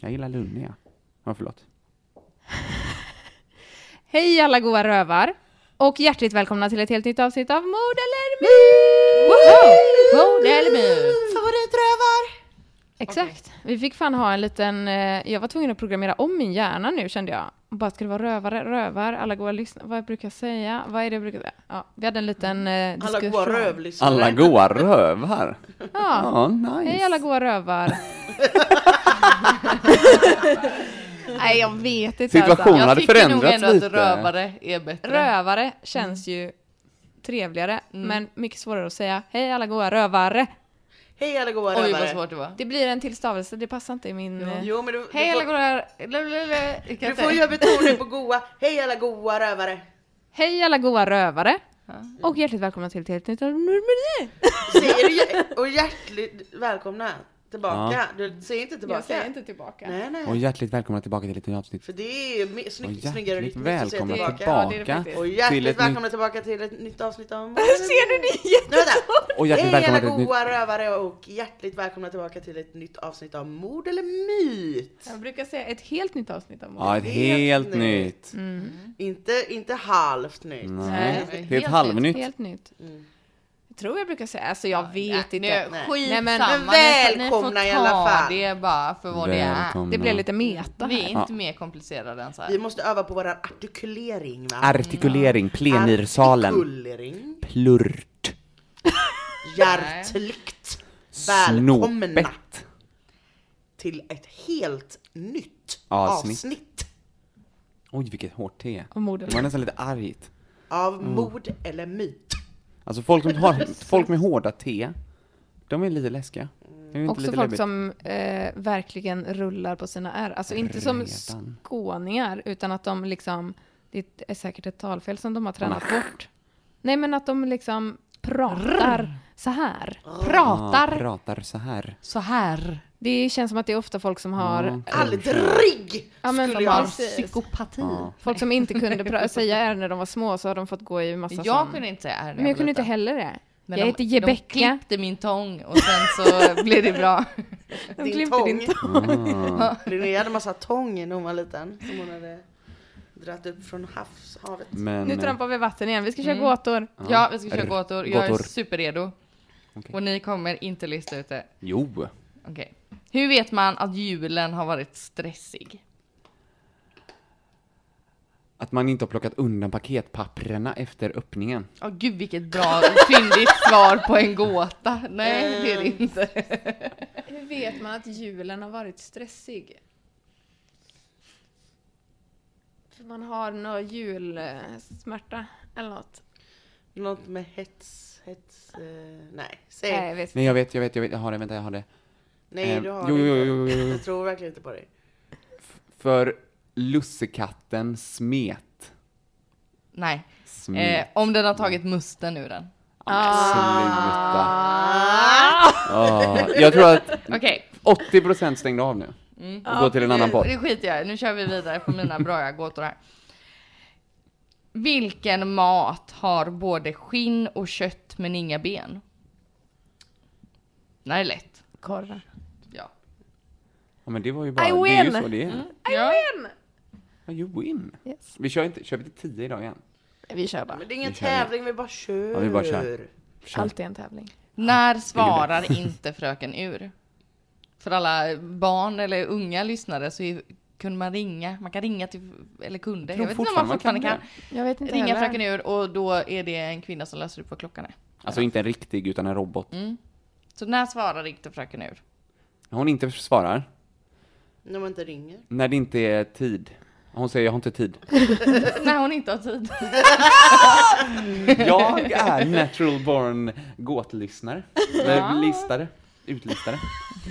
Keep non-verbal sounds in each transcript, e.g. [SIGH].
Jag gillar Lunnia. Ja, förlåt. Hej alla goa rövar! Och hjärtligt välkomna till ett helt nytt avsnitt av Mord eller Myr! Woho! Mord eller Myr! Favoritrövar! Exakt. Vi fick fan ha en liten... eh, Jag var tvungen att programmera om min hjärna nu kände jag. Och Bara ska det vara rövare, rövar, alla goa lyssnare. Vad brukar jag säga? Vad är det jag brukar säga? Ja, vi hade en liten eh, Alla diskussion. goa rövlyssnare. Alla goa rövar. Ja. Ja, nice. Hej alltså. alla goa rövar! [LAUGHS] Nej jag vet inte Situationen alltså. hade Jag tycker nog förändrats ändå att lite. rövare är bättre. Rövare känns Mm. ju trevligare, men mycket svårare att säga. Hej alla goa rövare! Hej alla goa Oj rövare. vad svårt det var. Det blir en till stavelse, det passar inte i min... eh, Jo, men du, Hej du alla får, goa... Lululule. Jag kan du inte- får göra betoning på goa. Hej alla goa rövare. [LAUGHS] Hej alla goa rövare! Och hjärtligt välkomna till ett helt nytt avsnitt. Säger du, hjär- och hjärtligt välkomna tillbaka. Du säger inte [LAUGHS] tillbaka. Jag säger inte tillbaka. [LAUGHS] Nej, nej. Och hjärtligt välkomna tillbaka till ett nytt avsnitt. För det är ju my- snygg, Och snyggare hjärtligt rytmiskt att säga välkomna tillbaka, tillbaka. Ja, det är det faktiskt. Och till hjärtligt ett välkomna nytt... tillbaka till ett nytt avsnitt av... Ser du det är Nej, vänta. [LAUGHS] Och hjärtligt Hej välkomna alla till ett nytt... goa rövare och hjärtligt välkomna tillbaka till ett nytt avsnitt av Mord eller myt. Jag brukar säga ett helt nytt avsnitt av Ja, ett Helt helt nytt. nytt. Mm. Inte, inte halvt nytt. Nej, Nej, det är ett halvnytt. Helt nytt. Jag tror jag brukar säga, alltså jag vet inte. Mm. Nej, Nej, skitsamma. men- ni får- Välkomna ni får i ta alla fall. det bara för vad Välkomna. Det blev lite meta det är. Vi är här. inte mer komplicerade än så Vi här. måste öva på våran artikulering va? Artikulering, plenirsalen. Artikulering. Plurt. Hjärtligt välkomna Snopet. till ett helt nytt Avsnitt. avsnitt Oj, vilket hårt T. Av mord eller Det var nästan lite argt. av Mm. mord eller myt. Alltså folk, som [LAUGHS] har, folk med hårda T, de är lite läskiga. De är inte Också lite folk läbbiga. som eh, verkligen rullar på sina R. Alltså inte som Redan. skåningar, utan att de liksom... Det är säkert ett talfel som de har tränat bort. Nej, men att de liksom pratar så här. Ah. Ja, Pratar pratar så här. Så här. Det känns som att det är ofta folk som har... Aldrig Ja, men skulle de jag... har- Precis. Psykopati. Folk som inte kunde pra- säga R när de var små, så har de fått gå i massa Jag sån- kunde inte säga här Men jag kunde inte heller det. Men jag de- heter De Jebecka. klippte min tång och sen så [LAUGHS] blev det bra. De Din klippte din tång. tång. Ah. [LAUGHS] Linnea hade massa tång när hon var liten som hon hade dratt upp från havs, havet. Men, Nu trampar vi vatten igen. Vi ska köra gåtor. Ja, vi ska köra R- gåtor. Jag är gåtor. superredo. Okej. Och ni kommer inte lista ut det. Jo. Okej. Hur vet man att julen har varit stressig? Att man inte har plockat undan paketpapperna efter öppningen. Åh gud vilket bra [LAUGHS] fyndigt svar på en gåta. Nej det är Eh, det inte. Hur vet man att julen har varit stressig? För man har någon julsmärta eller något. Något med hets, hets, eh, nej. Säg. Nej, Nej, jag vet Nej, jag vet, jag vet, jag vet. Jag har det, vänta, jag har det. Eh, du har jo, det jo, inte. jo, jo, jo, jo. Jag tror verkligen inte på dig. För lussekatten smet. Nej. Smet. Eh, om den har tagit musten ur den. Sluta. Ah, jag tror att Okej, 80% stängde av nu. Mm. Och går till en annan podd. det skiter jag i. Nu kör vi vidare på mina bra gåtor här. Vilken mat har både skinn och kött men inga ben? Nej, lätt. Korvar. Ja. Ja, men det var ju bara, I det är ju win. Mm. så det är. ja. Ja, you win. Yes. Vi kör inte, kör vi till 10 idag igen? Vi kör bara. Men det är ingen Vi kör igen. tävling, vi bara kör. Ja, vi bara kör. Allt är en tävling. När svarar inte fröken ur? För alla barn eller unga lyssnare så är, kunde man ringa, man kan ringa till, eller kunde, tror jag vet inte om man fortfarande kan, Jag vet inte ringa heller. Fröken Ur och då är det en kvinna som läser upp vad klockan är. Alltså inte en riktig, utan en robot. Mm. Så när svarar inte Fröken Ur? När hon inte svarar, När man inte ringer. när det inte är tid. Hon säger jag har inte tid. när hon inte har tid. Jag är natural born gåtlyssnare. Eller listare. Utlistare.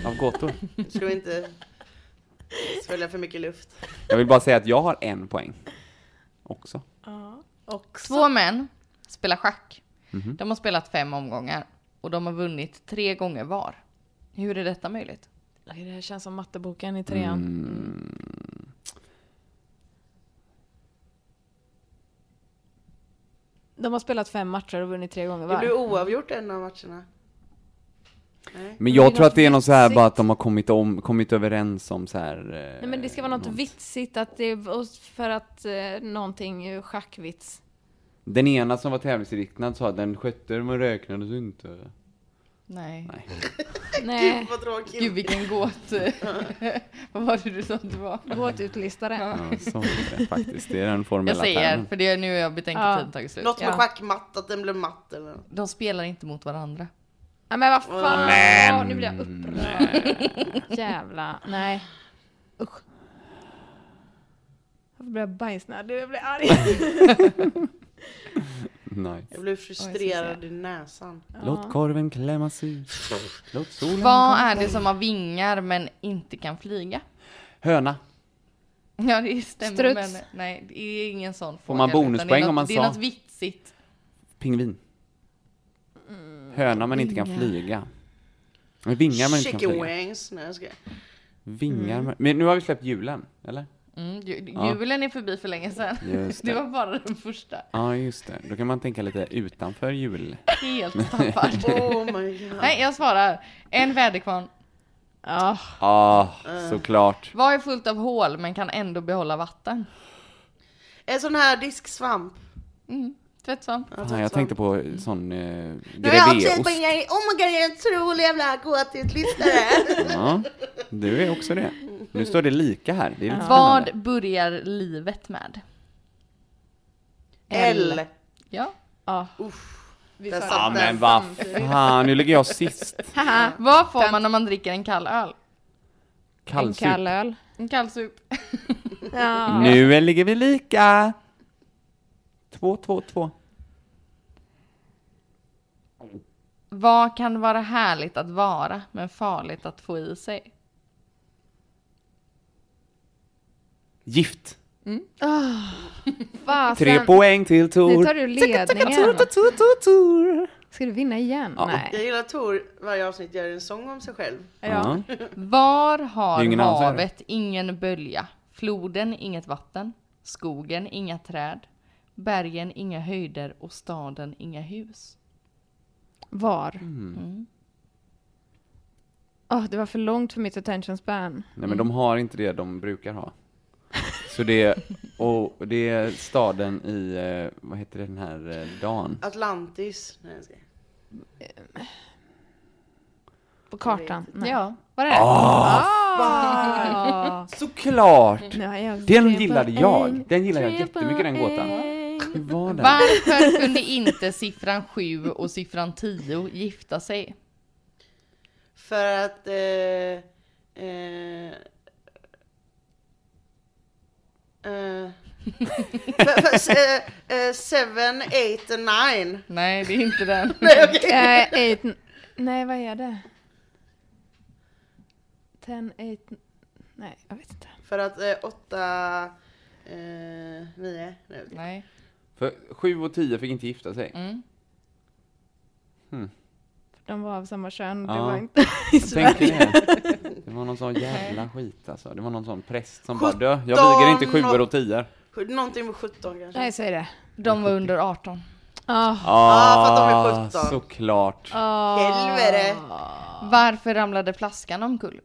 Av gåtor. Nu ska vi [LAUGHS] inte svälja för mycket luft. Jag vill bara säga att jag har en poäng. Också. Två män spelar schack. Mhm. De har spelat fem omgångar och de har vunnit tre gånger var. Hur är detta möjligt? Nej, Det här känns som matteboken i trean. De har spelat fem matcher och vunnit tre gånger Det blev var. oavgjort en av matcherna. Mm. Men det är jag tror något att det är någon så här vitsigt. bara att de har kommit, om, kommit överens om så här. eh, Nej, men det ska vara något vitsigt att det och för att eh, någonting eh, schackvits. Den ena som var tävlingsinriktad sa att den skötte men räknades inte. Nej. Nej. Nej, Vad tråkigt. Gud vilken gåt. [LAUGHS] Vad var det du sa att det var? gåtutlistare. Ja, så är det faktiskt. Det är den Jag formella säger, termen. för det är nu jag betänker Ja. tiden tagit slut. Något med Ja. schackmatt, att den blev matt eller något. De spelar inte mot varandra. Nej men vad fan! Ja, nu blir jag upprörd. Jävla, nej. Usch. Varför blir jag bajsnödig? Jag blir arg. Nej. Jag blev frustrerad i näsan. Låt korven klämmas ut. Låt solen... Vad är det som har vingar men inte kan flyga? [LAUGHS] Höna. Ja det stämmer Struts. men nej det är ingen sån fråga. man utan bonuspoäng det är något- om man Det sa? är något vitsigt. Pingvin. Höna men inte kan flyga. Men Vingar men inte kan Chicken flyga. wings. Nej, jag ska... Vingar men... men nu har vi släppt julen, eller? Mm, ju- julen är förbi för länge sedan. Just [LAUGHS] Det det. var bara [LAUGHS] den första. Ja, just det. Då kan man tänka lite utanför jul. Helt tappad. Oh my [LAUGHS] god. Nej, jag svarar. En väderkvarn. [LAUGHS] Ja, Ah, såklart. Vad är fullt av hål men kan ändå behålla vatten? En sån här disksvamp. Tvättsvamp. Fan, jag tänkte på eh, sån eh, Nu har jag också grevéost. poäng. Jag är- Oh my god, jag är en otrolig jävla gåtutlyssnare. Ja, du är också det. Nu står det lika här. Det är lite spännande. Vad börjar livet med? [LAUGHS] L. Ja. Där Ja, satt men den. vad fan, nu ligger jag sist. Vad får man när man dricker en kall öl? en Kallsup. kall öl. Mm. En kall sup. Typ. Ja. Nu ligger vi lika. Två, två, två. [LAUGHS] Vad kan vara härligt att vara men farligt att få i sig? Gift. Fasen. Tre poäng till Nu Tor. tar du ledningen. Tor, Tor, Tor, Tor. Ska du vinna igen? Jag Nej. gillar att Tor varje avsnitt gör en sång om sig själv. Ja. Var Det är har ingen annan som är det. havet ingen bölja? Floden inget vatten? Skogen inga träd? Bergen inga höjder och staden inga hus? Var? Åh, det var för långt för mitt attention span. Nej men de har inte det de brukar ha. Så det är, och det är staden i, eh, vad heter den här eh, dan? Atlantis. Nej, jag ska... På kartan. Nej. Ja, vad är det? Ah! Såklart! Nu har jag Den tre gillade jag. poäng. Den gillade jag Tre jättemycket den gåtan. poäng. Hur var den? Varför kunde inte siffran 7 och siffran 10 gifta sig? För att... Eh, eh, eh, för, för, eh, eh, seven, eight and nine. Nej, det är inte den. Eh, eight, n- nej, vad är det? Ten, eight... n- Nej, jag vet inte. För att eh, åtta, eh, nio. Nej, okej. Nej. För sju och tio fick inte gifta sig. Mm. De var av samma kön. Det Ja. var inte i Tänk Sverige. det. Det var någon sån jävla skit alltså. Det var någon sån präst som bara, "Du, jag viger inte sjuor och tior. Någonting med 17 kanske. Nej, säg det. De var under 18. Oh, ah, för att de är Ah, 17. såklart. Helvete! Varför ramlade flaskan omkull?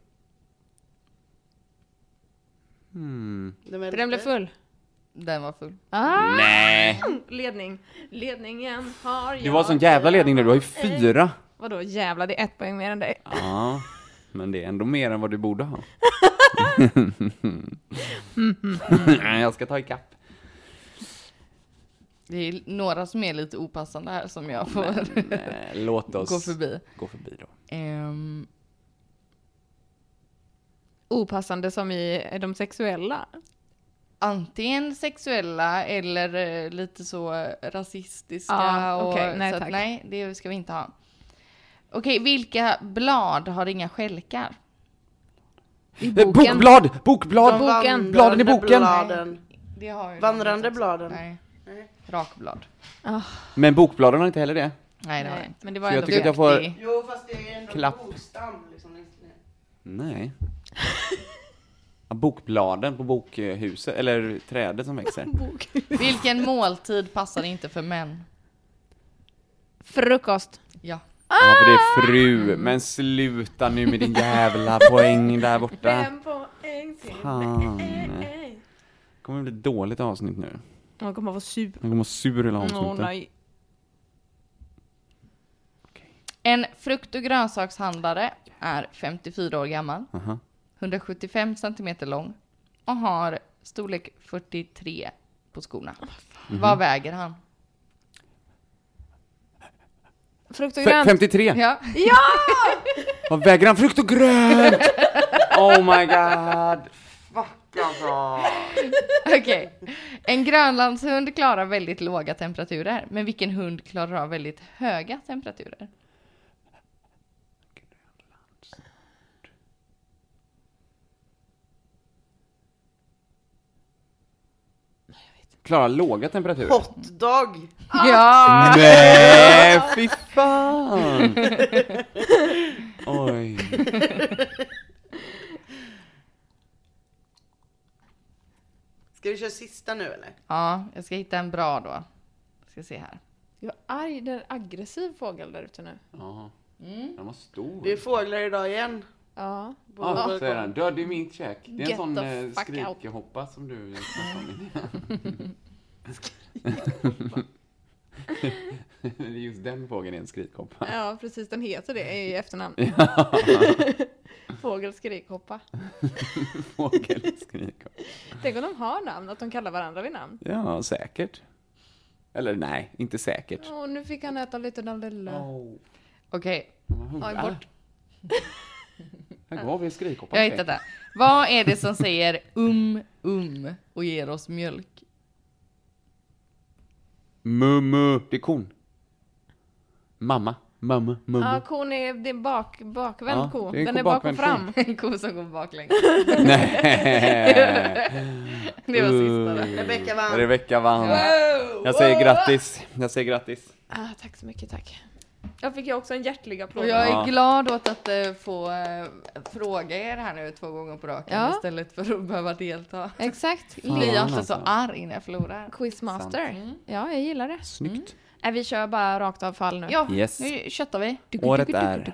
De är den blev full. Den var full. Nej! Ah. Ledning. Ledningen har jag. Eh. Du var sån jävla ledning nu, du har ju fyra. Vadå jävla, det är ett poäng mer än dig. Ja. Men det är ändå mer än vad du borde ha. jag ska ta ikapp. Det är några som är lite opassande här som jag får Eh, Låt oss [LAUGHS] gå förbi. gå förbi då. Ehm, Opassande som i de sexuella. antingen sexuella eller eh, lite så eh, rasistiska. Ja, och, okej, nej, så tack. att, nej, det ska vi inte ha. Okej, vilka blad har inga stjälkar? I Eh, boken. Bokblad! Bokblad! Boken. vandrande Bladen i boken. bladen. Det har ju Vandrande de inte. bladen. Nej. Rakblad. Men bokbladen har inte heller det. Nej, det har jag Nej, inte. men det var Så jag ändå tycker att jag bra. får- Duktig. Jo fast det är ändå Klapp. bokstam liksom. längst ner. Nej. Ja, Bokbladen på bokhuset, eller trädet som växer. [LAUGHS] Vilken måltid passar inte för män? Frukost. Ja. Ja, för det är fru. Men sluta nu med din jävla poäng där borta. Fan. Det kommer bli ett dåligt avsnitt nu. Man kommer vara sur. Jag kommer vara sur hela avsnittet. Åh nej. En frukt och grönsakshandlare är 54 år gammal, Aha. 175 centimeter lång och har storlek 43 på skorna. Vad väger han? Frukt och Fe- grönt. 53! [LAUGHS] Ja, Vad väger han? Frukt och grönt! Oh my god! Fuck alltså! [LAUGHS] okej. En grönlandshund klarar väldigt låga temperaturer, men vilken hund klarar av väldigt höga temperaturer? Klara låga temperaturer. Hotdog! Ja! Nej, Eh, fy fan! Oj. Ska vi köra sista nu eller? Ja, jag ska hitta en bra då. Ska se här. Jag är arg. Det är en aggressiv fågel där ute nu. Ja, den var stor. Det är fåglar idag igen. Ja. Ja, säger han. Död i mitt käk. Det är en Get sån the eh, fuck out. skrikhoppa som du snackade om [LAUGHS] innan. Just den fågeln är en skrikhoppa. Ja, precis. Den heter det i efternamn. [LAUGHS] Fågelskrikoppa. Fågelskrikhopp. Tänk om de har namn, att de kallar varandra vid namn. Ja, säkert. Eller nej, inte säkert. Åh, nu fick han äta lite den lilla. Okej, Oj, Oh. bort. Här går vi, skrikhoppan. jag har hittat det. Vad är det som säger um, um och ger oss mjölk? [LAUGHS] Mummu. Det är kon. Mamma. Mamma. Mummu. Ja, kon är, det är en bak, bakvänd Ja, ko. det är en Den ko är bak och bakvänd ko. fram. En ko som går baklänges. [LAUGHS] Nej. Det var sista där. Rebecka vann. Rebecka vann. Jag säger grattis. Jag säger grattis. Ah, tack så mycket, tack. Jag fick jag också en hjärtlig applåd. Och jag Ja. är glad åt att eh, få eh, fråga er här nu två gånger på raken Ja. istället för att behöva delta. Exakt. Blir jag inte så alltså. arg när jag förlorar? Quizmaster. Ja, jag gillar det. Snyggt. Nej, Mm. Äh, vi kör bara rakt av fall nu. Ja, Yes. nu köttar vi. Året är...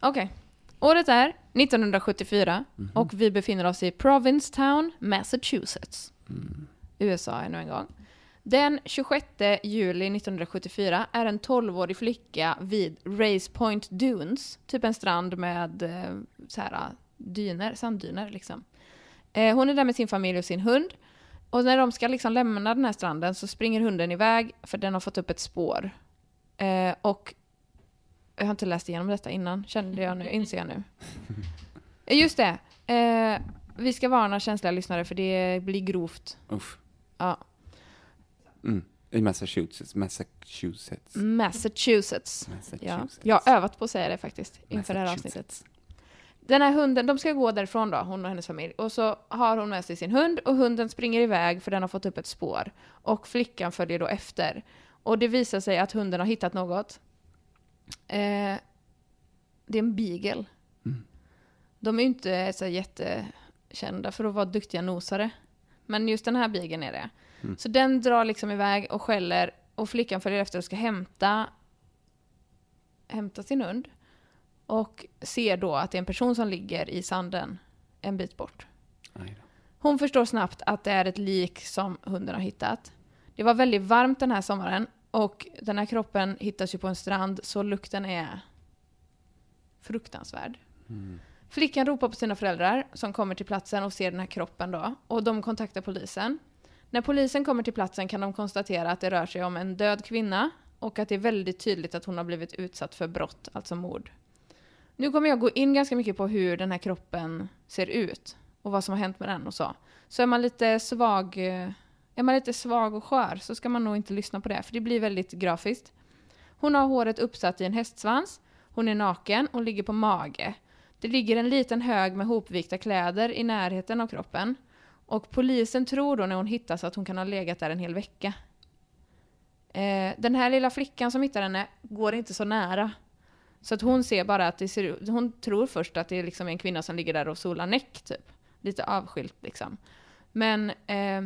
Okej. Året är 1974 och vi befinner oss i Provincetown, Massachusetts. USA ännu en gång. Den 26 juli 1974 är en 12-årig flicka vid Race Point Dunes, typ en strand med eh, så här, dyner, sanddyner liksom. Eh, Hon är där med sin familj och sin hund. Och när de ska liksom lämna den här stranden så springer hunden iväg för den har fått upp ett spår. Eh, Och jag har inte läst igenom detta innan, kände jag nu, inser jag nu. Eh, Just det. Eh, vi ska varna känsliga lyssnare för det blir grovt. Uff. Ja. Mm. I Massachusetts. Massachusetts. Massachusetts. Ja. Massachusetts. Jag har övat på att säga det faktiskt inför det här avsnittet. Massachusetts. Den här hunden, de ska gå därifrån då, hon och hennes familj. Och så har hon med sig sin hund och hunden springer iväg för den har fått upp ett spår. Och flickan följer då efter. Och det visar sig att hunden har hittat något. Eh, det är en beagle. De är ju inte så jätte kända för att vara duktiga nosare. Men just den här bigen är det. Så den drar liksom iväg och skäller och flickan följer efter och ska hämta, hämta sin hund. Och ser då att det är en person som ligger i sanden en bit bort. Aj då. Hon förstår snabbt att det är ett lik som hunden har hittat. Det var väldigt varmt den här sommaren och den här kroppen hittas ju på en strand så lukten är fruktansvärd. Flickan ropar på sina föräldrar som kommer till platsen och ser den här kroppen då och de kontaktar polisen. När polisen kommer till platsen kan de konstatera att det rör sig om en död kvinna och att det är väldigt tydligt att hon har blivit utsatt för brott, alltså mord. Nu kommer jag gå in ganska mycket på hur den här kroppen ser ut och vad som har hänt med den och så. Så är man lite svag, eh, är man lite svag och skör så ska man nog inte lyssna på det för det blir väldigt grafiskt. Hon har håret uppsatt i en hästsvans, hon är naken och ligger på mage. Det ligger en liten hög med hopvikta kläder i närheten av kroppen. Och polisen tror då när hon hittas att hon kan ha legat där en hel vecka. Eh, den här lilla flickan som hittar henne går inte så nära. Så att hon ser bara att det ser ut- hon tror först att det är liksom en kvinna som ligger där och solar näck typ. Lite avskilt liksom. Men eh,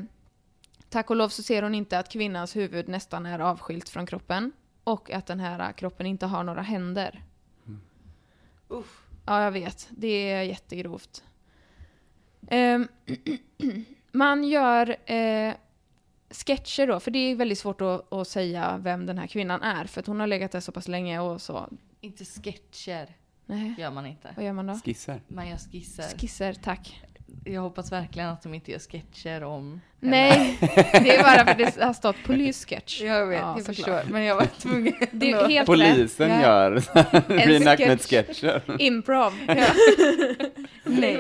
tack och lov så ser hon inte att kvinnans huvud nästan är avskilt från kroppen. Och att den här kroppen inte har några händer. Mm. Uff. Ja, jag vet. Det är jättegrovt. Ehm, [CLEARS THROAT] man gör eh, sketcher då, för det är väldigt svårt att, att säga vem den här kvinnan är. För att hon har legat där så pass länge och så. Inte sketcher Nej, gör man inte. vad gör man då? Skisser. Man gör skisser. Skisser, tack. Jag hoppas verkligen att de inte gör sketcher om [LAUGHS] henne. Nej, det är bara för att det har stått polissketch. Jag vet, Ja, jag såklart. förstår. Men jag var tvungen. [LAUGHS] Det är helt rätt. Polisen Ja. gör [LAUGHS] En reenactment-sketcher. Improv. Nej.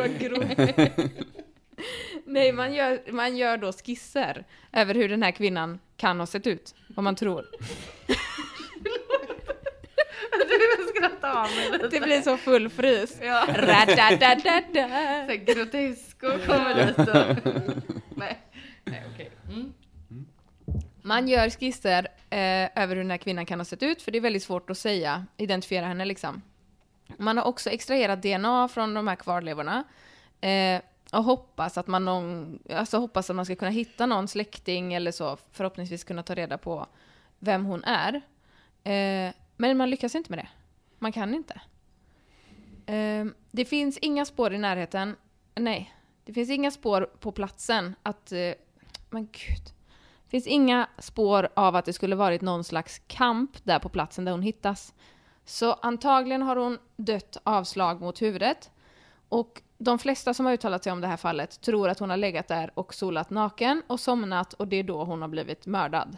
Nej, man gör, man gör då skisser över hur den här kvinnan kan ha sett ut. Vad man tror. [LAUGHS] Du vill skratta av mig lite. Det blir så full frys. Ja. Ra-da-da-da-da. Så här grotesko kommer lite. Nej, Nej okej. Mm. Man gör skisser eh, över hur den här kvinnan kan ha sett ut, för det är väldigt svårt att säga, identifiera henne liksom. Man har också extraherat DNA från de här kvarlevorna eh, och hoppas att, man någon, alltså hoppas att man ska kunna hitta någon släkting eller så, förhoppningsvis kunna ta reda på vem hon är. Eh, men man lyckas inte med det. Man kan inte. Eh, det finns inga spår i närheten. Nej, det finns inga spår på platsen att... Eh, men gud. Det finns inga spår av att det skulle varit någon slags kamp där på platsen där hon hittas. Så antagligen har hon dött av slag mot huvudet. Och de flesta som har uttalat sig om det här fallet tror att hon har legat där och solat naken och somnat och det är då hon har blivit mördad.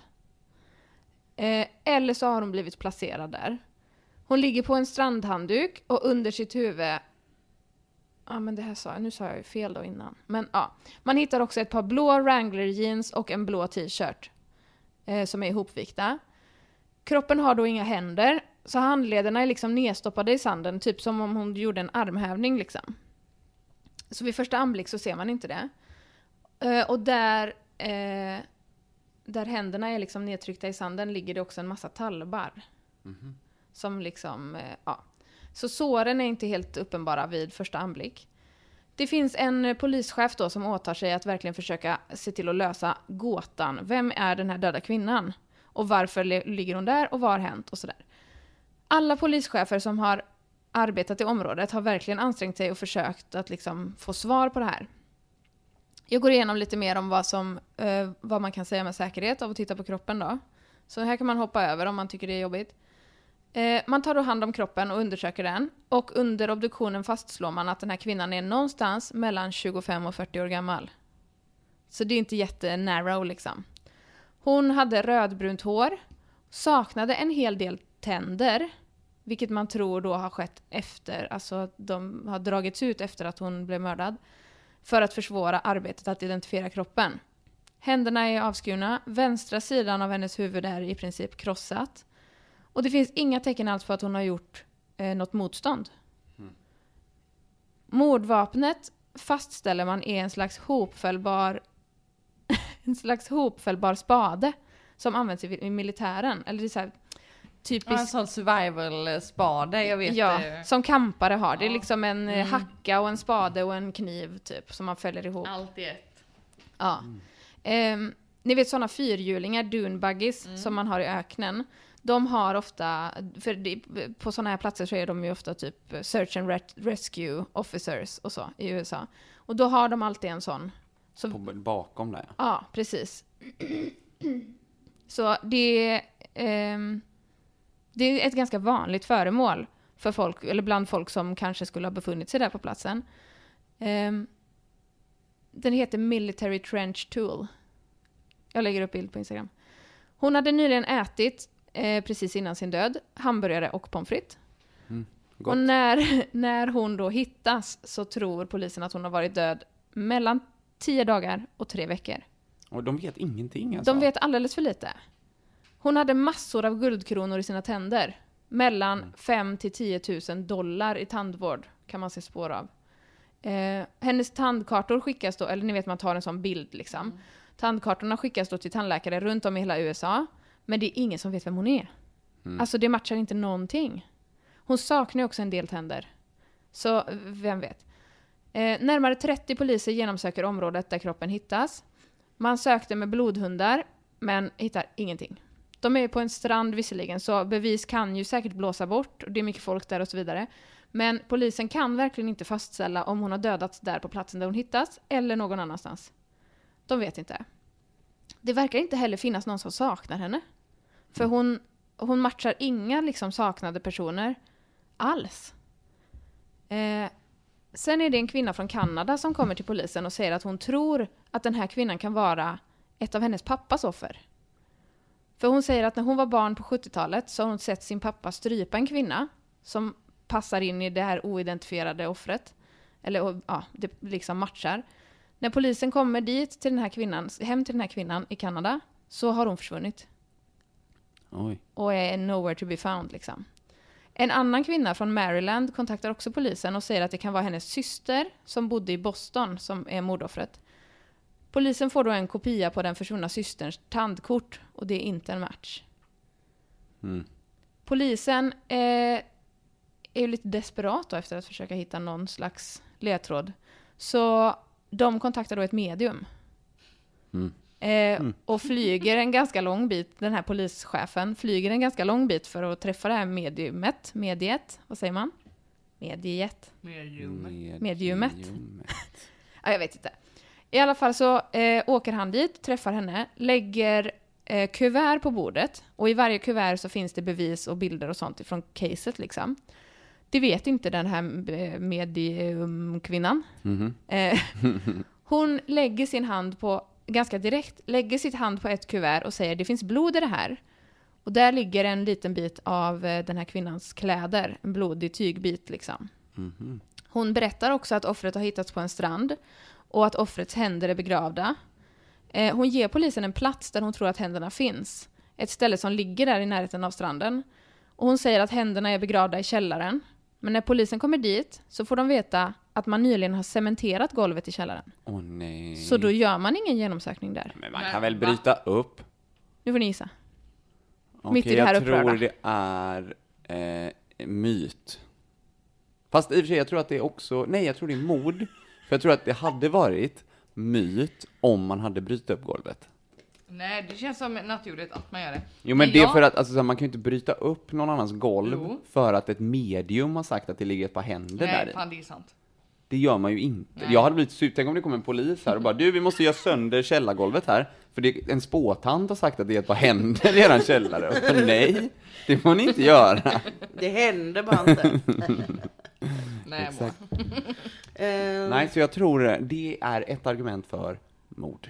Eh, eller så har hon blivit placerad där. Hon ligger på en strandhandduk och under sitt huvud Ja men det här sa jag, nu sa jag ju fel då innan. Men ja. Man hittar också ett par blå Wrangler jeans och en blå t-shirt. Eh, som är ihopvikta. Kroppen har då inga händer. Så handlederna är liksom nedstoppade i sanden, typ som om hon gjorde en armhävning liksom. Så vid första anblick så ser man inte det. Eh, och där, eh, där händerna är liksom nedtryckta i sanden ligger det också en massa talbar. Som liksom, eh, ja. Så såren är inte helt uppenbara vid första anblick. Det finns en eh, polischef då som åtar sig att verkligen försöka se till att lösa gåtan. Vem är den här döda kvinnan? Och varför le- ligger hon där och vad har hänt och sådär. Alla polischefer som har arbetat i området har verkligen ansträngt sig och försökt att liksom få svar på det här. Jag går igenom lite mer om vad, som, eh, vad man kan säga med säkerhet av att titta på kroppen då. Så här kan man hoppa över om man tycker det är jobbigt. Eh, man tar då hand om kroppen och undersöker den. Och under obduktionen fastslår man att den här kvinnan är någonstans mellan 25 och 40 år gammal. Så det är inte jättenarrow liksom. Hon hade rödbrunt hår, saknade en hel del tänder. Vilket man tror då har skett efter, alltså att de har dragits ut efter att hon blev mördad. För att försvåra arbetet att identifiera kroppen. Händerna är avskurna, vänstra sidan av hennes huvud är i princip krossat. Och det finns inga tecken alls på att hon har gjort eh, något motstånd. Mordvapnet fastställer man är en slags hopfällbar [LAUGHS] en slags hopfällbar spade som används i, i militären. Eller det är så här, Ja, en typisk sån survival-spade, jag vet Ja, eh, Mm. som kampare har. Det är liksom en eh, hacka och en spade och en kniv typ som man fäller ihop. Allt i ett. Ja. Ehm, ni vet sådana fyrhjulingar, dune buggies, som man har i öknen. De har ofta, för det, på sådana här platser så är de ju ofta typ search and ret- rescue officers och så i USA. Och då har de alltid en sån. Så På, bakom där ja. Ja, precis. Så det, ehm, det är ett ganska vanligt föremål för folk, eller bland folk som kanske skulle ha befunnit sig där på platsen. Ehm, den heter Military Trench Tool. Jag lägger upp bild på Instagram. Hon hade nyligen ätit, eh, precis innan sin död, hamburgare och pommes frites. Gott. Och när, [LAUGHS] när hon då hittas så tror polisen att hon har varit död mellan 10 dagar och 3 veckor. Och de vet ingenting alltså. De vet alldeles för lite. Hon hade massor av guldkronor i sina tänder. Mellan 5 till 10 000 dollar i tandvård kan man se spår av. Eh, hennes tandkartor skickas då, eller ni vet man tar en sån bild liksom. Tandkartorna skickas då till tandläkare runt om i hela USA. Men det är ingen som vet vem hon är. Alltså det matchar inte någonting. Hon saknar ju också en del tänder. Så vem vet. Eh, närmare 30 poliser genomsöker området där kroppen hittas. Man sökte med blodhundar, men hittar ingenting. De är ju på en strand visserligen, så bevis kan ju säkert blåsa bort och det är mycket folk där och så vidare. Men polisen kan verkligen inte fastställa om hon har dödats där på platsen där hon hittas eller någon annanstans. De vet inte. Det verkar inte heller finnas någon som saknar henne. För hon, hon matchar inga liksom saknade personer alls. Eh, Sen är det en kvinna från Kanada som kommer till polisen och säger att hon tror att den här kvinnan kan vara ett av hennes pappas offer. För hon säger att när hon var barn på 70-talet så har hon sett sin pappa strypa en kvinna som passar in i det här oidentifierade offret. Eller och, ja, det liksom matchar. När polisen kommer dit till den här kvinnan, hem till den här kvinnan i Kanada så har hon försvunnit Oj. och är nowhere to be found liksom. En annan kvinna från Maryland kontaktar också polisen och säger att det kan vara hennes syster som bodde i Boston som är mordoffret. Polisen får då en kopia på den försvunna systerns tandkort och det är inte en match. Polisen eh, är ju lite desperat då efter att försöka hitta någon slags ledtråd. Så de kontaktar då ett medium. Eh, och flyger en ganska lång bit, den här polischefen flyger en ganska lång bit för att träffa det här mediumet, mediet, vad säger man? Mediet. Med- Mediumet. Ja, jag vet inte. I alla fall så eh, åker han dit, träffar henne, lägger eh, kuvert på bordet och i varje kuvert så finns det bevis och bilder och sånt ifrån caset liksom. Det vet inte den här eh, mediumkvinnan. Eh, hon lägger sin hand på, ganska direkt, lägger sitt hand på ett kuvert och säger det finns blod i det här. Och där ligger en liten bit av eh, den här kvinnans kläder, en blodig tygbit liksom. Hon berättar också att offret har hittats på en strand och att offrets händer är begravda. Eh, Hon ger polisen en plats där hon tror att händerna finns. Ett ställe som ligger där i närheten av stranden. Och hon säger att händerna är begravda i källaren. Men när polisen kommer dit så får de veta att man nyligen har cementerat golvet i källaren. Åh nej. Så då gör man ingen genomsökning där. Men man kan väl bryta upp? Nu får ni gissa. Okej, Mitt i det här jag upprörda. tror det är eh, myt. Fast i och för sig, jag tror att det är också, nej jag tror det är mord. För jag tror att det hade varit myt om man hade brutit upp golvet. Nej, det känns som naturligt att man gör det. Jo men Men det är jag- för att, alltså, så här, man kan ju inte bryta upp någon annans golv Jo. för att ett medium har sagt att det ligger ett par händer där Nej, i. fan det är sant. Det gör man ju inte. Jag hade blivit sur. Tänk om det kom en polis här och bara du, vi måste göra sönder källargolvet här. För det, en spåtant har sagt att det är ett par händer i eran källare. Och så, nej, det får ni inte göra. Det händer bara inte. [LAUGHS] Nej, jag Exakt. bara- [LAUGHS] Eh, Nej, så jag tror det är ett argument för mord.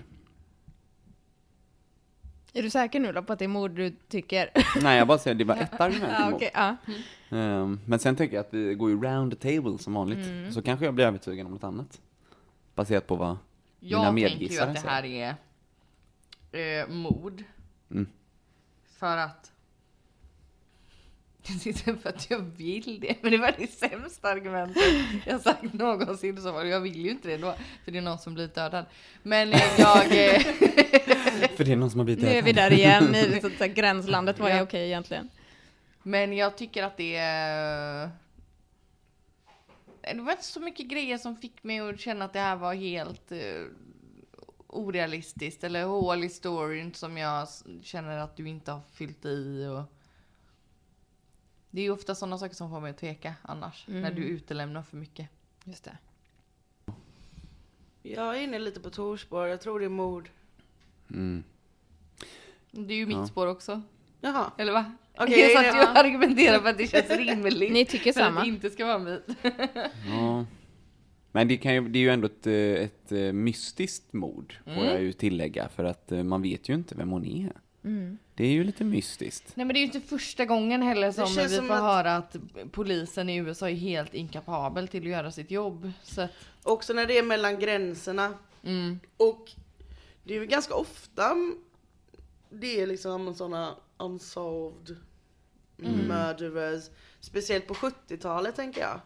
Är du säker nu då på att det är mord du [LAUGHS] tycker? Nej, jag bara säger det var ett argument för ja, mord. okej, ja. Ehm, men sen tänker jag att vi går ju round the table som vanligt. Mm. Så kanske jag blir övertygad om något annat. Baserat på vad mina jag tänker ju medgissare att det här är eh, mod. Mm. För att... [LAUGHS] Det är inte för att jag vill det, men det var det sämsta argumentet jag sagt någonsin. Så var det. jag vill ju inte det då, för det är någon som blir dödad. Men eh, jag... eh, säger. [LAUGHS] För det är någon som har bitit Nu är vi henne. [LAUGHS] där igen i sånt där gränslandet. Vad är okej egentligen? Men jag tycker att det är... Det var inte så mycket grejer som fick mig att känna att det här var helt eh, orealistiskt eller hål i storyn som jag s- känner att du inte har fyllt i. Och... Det är ju ofta sådana saker som får mig att tveka annars, när du utelämnar för mycket. Mm. Just det. Jag är inne lite på Torsborg, jag tror det är mord. Det är ju mitt spår också. Jaha. Eller va? Okej, [LAUGHS] så ja. att du argumenterar för att det [LAUGHS] känns rimligt. Ni tycker för att samma. det inte ska vara mitt. Ja. Men det, kan ju, det är ju ändå ett, eh, ett eh, mystiskt mord, Mm. får jag ju tillägga, för att eh, man vet ju inte vem hon är. Det är ju lite mystiskt. Mm. Nej men det är ju inte första gången heller som vi känns får som att- höra att polisen i USA är helt inkapabel till att göra sitt jobb. Så att, Också när det är mellan gränserna. Mm. Och det är ju ganska ofta det är liksom sådana unsolved Mm. murderers. Speciellt på 70-talet tänker jag.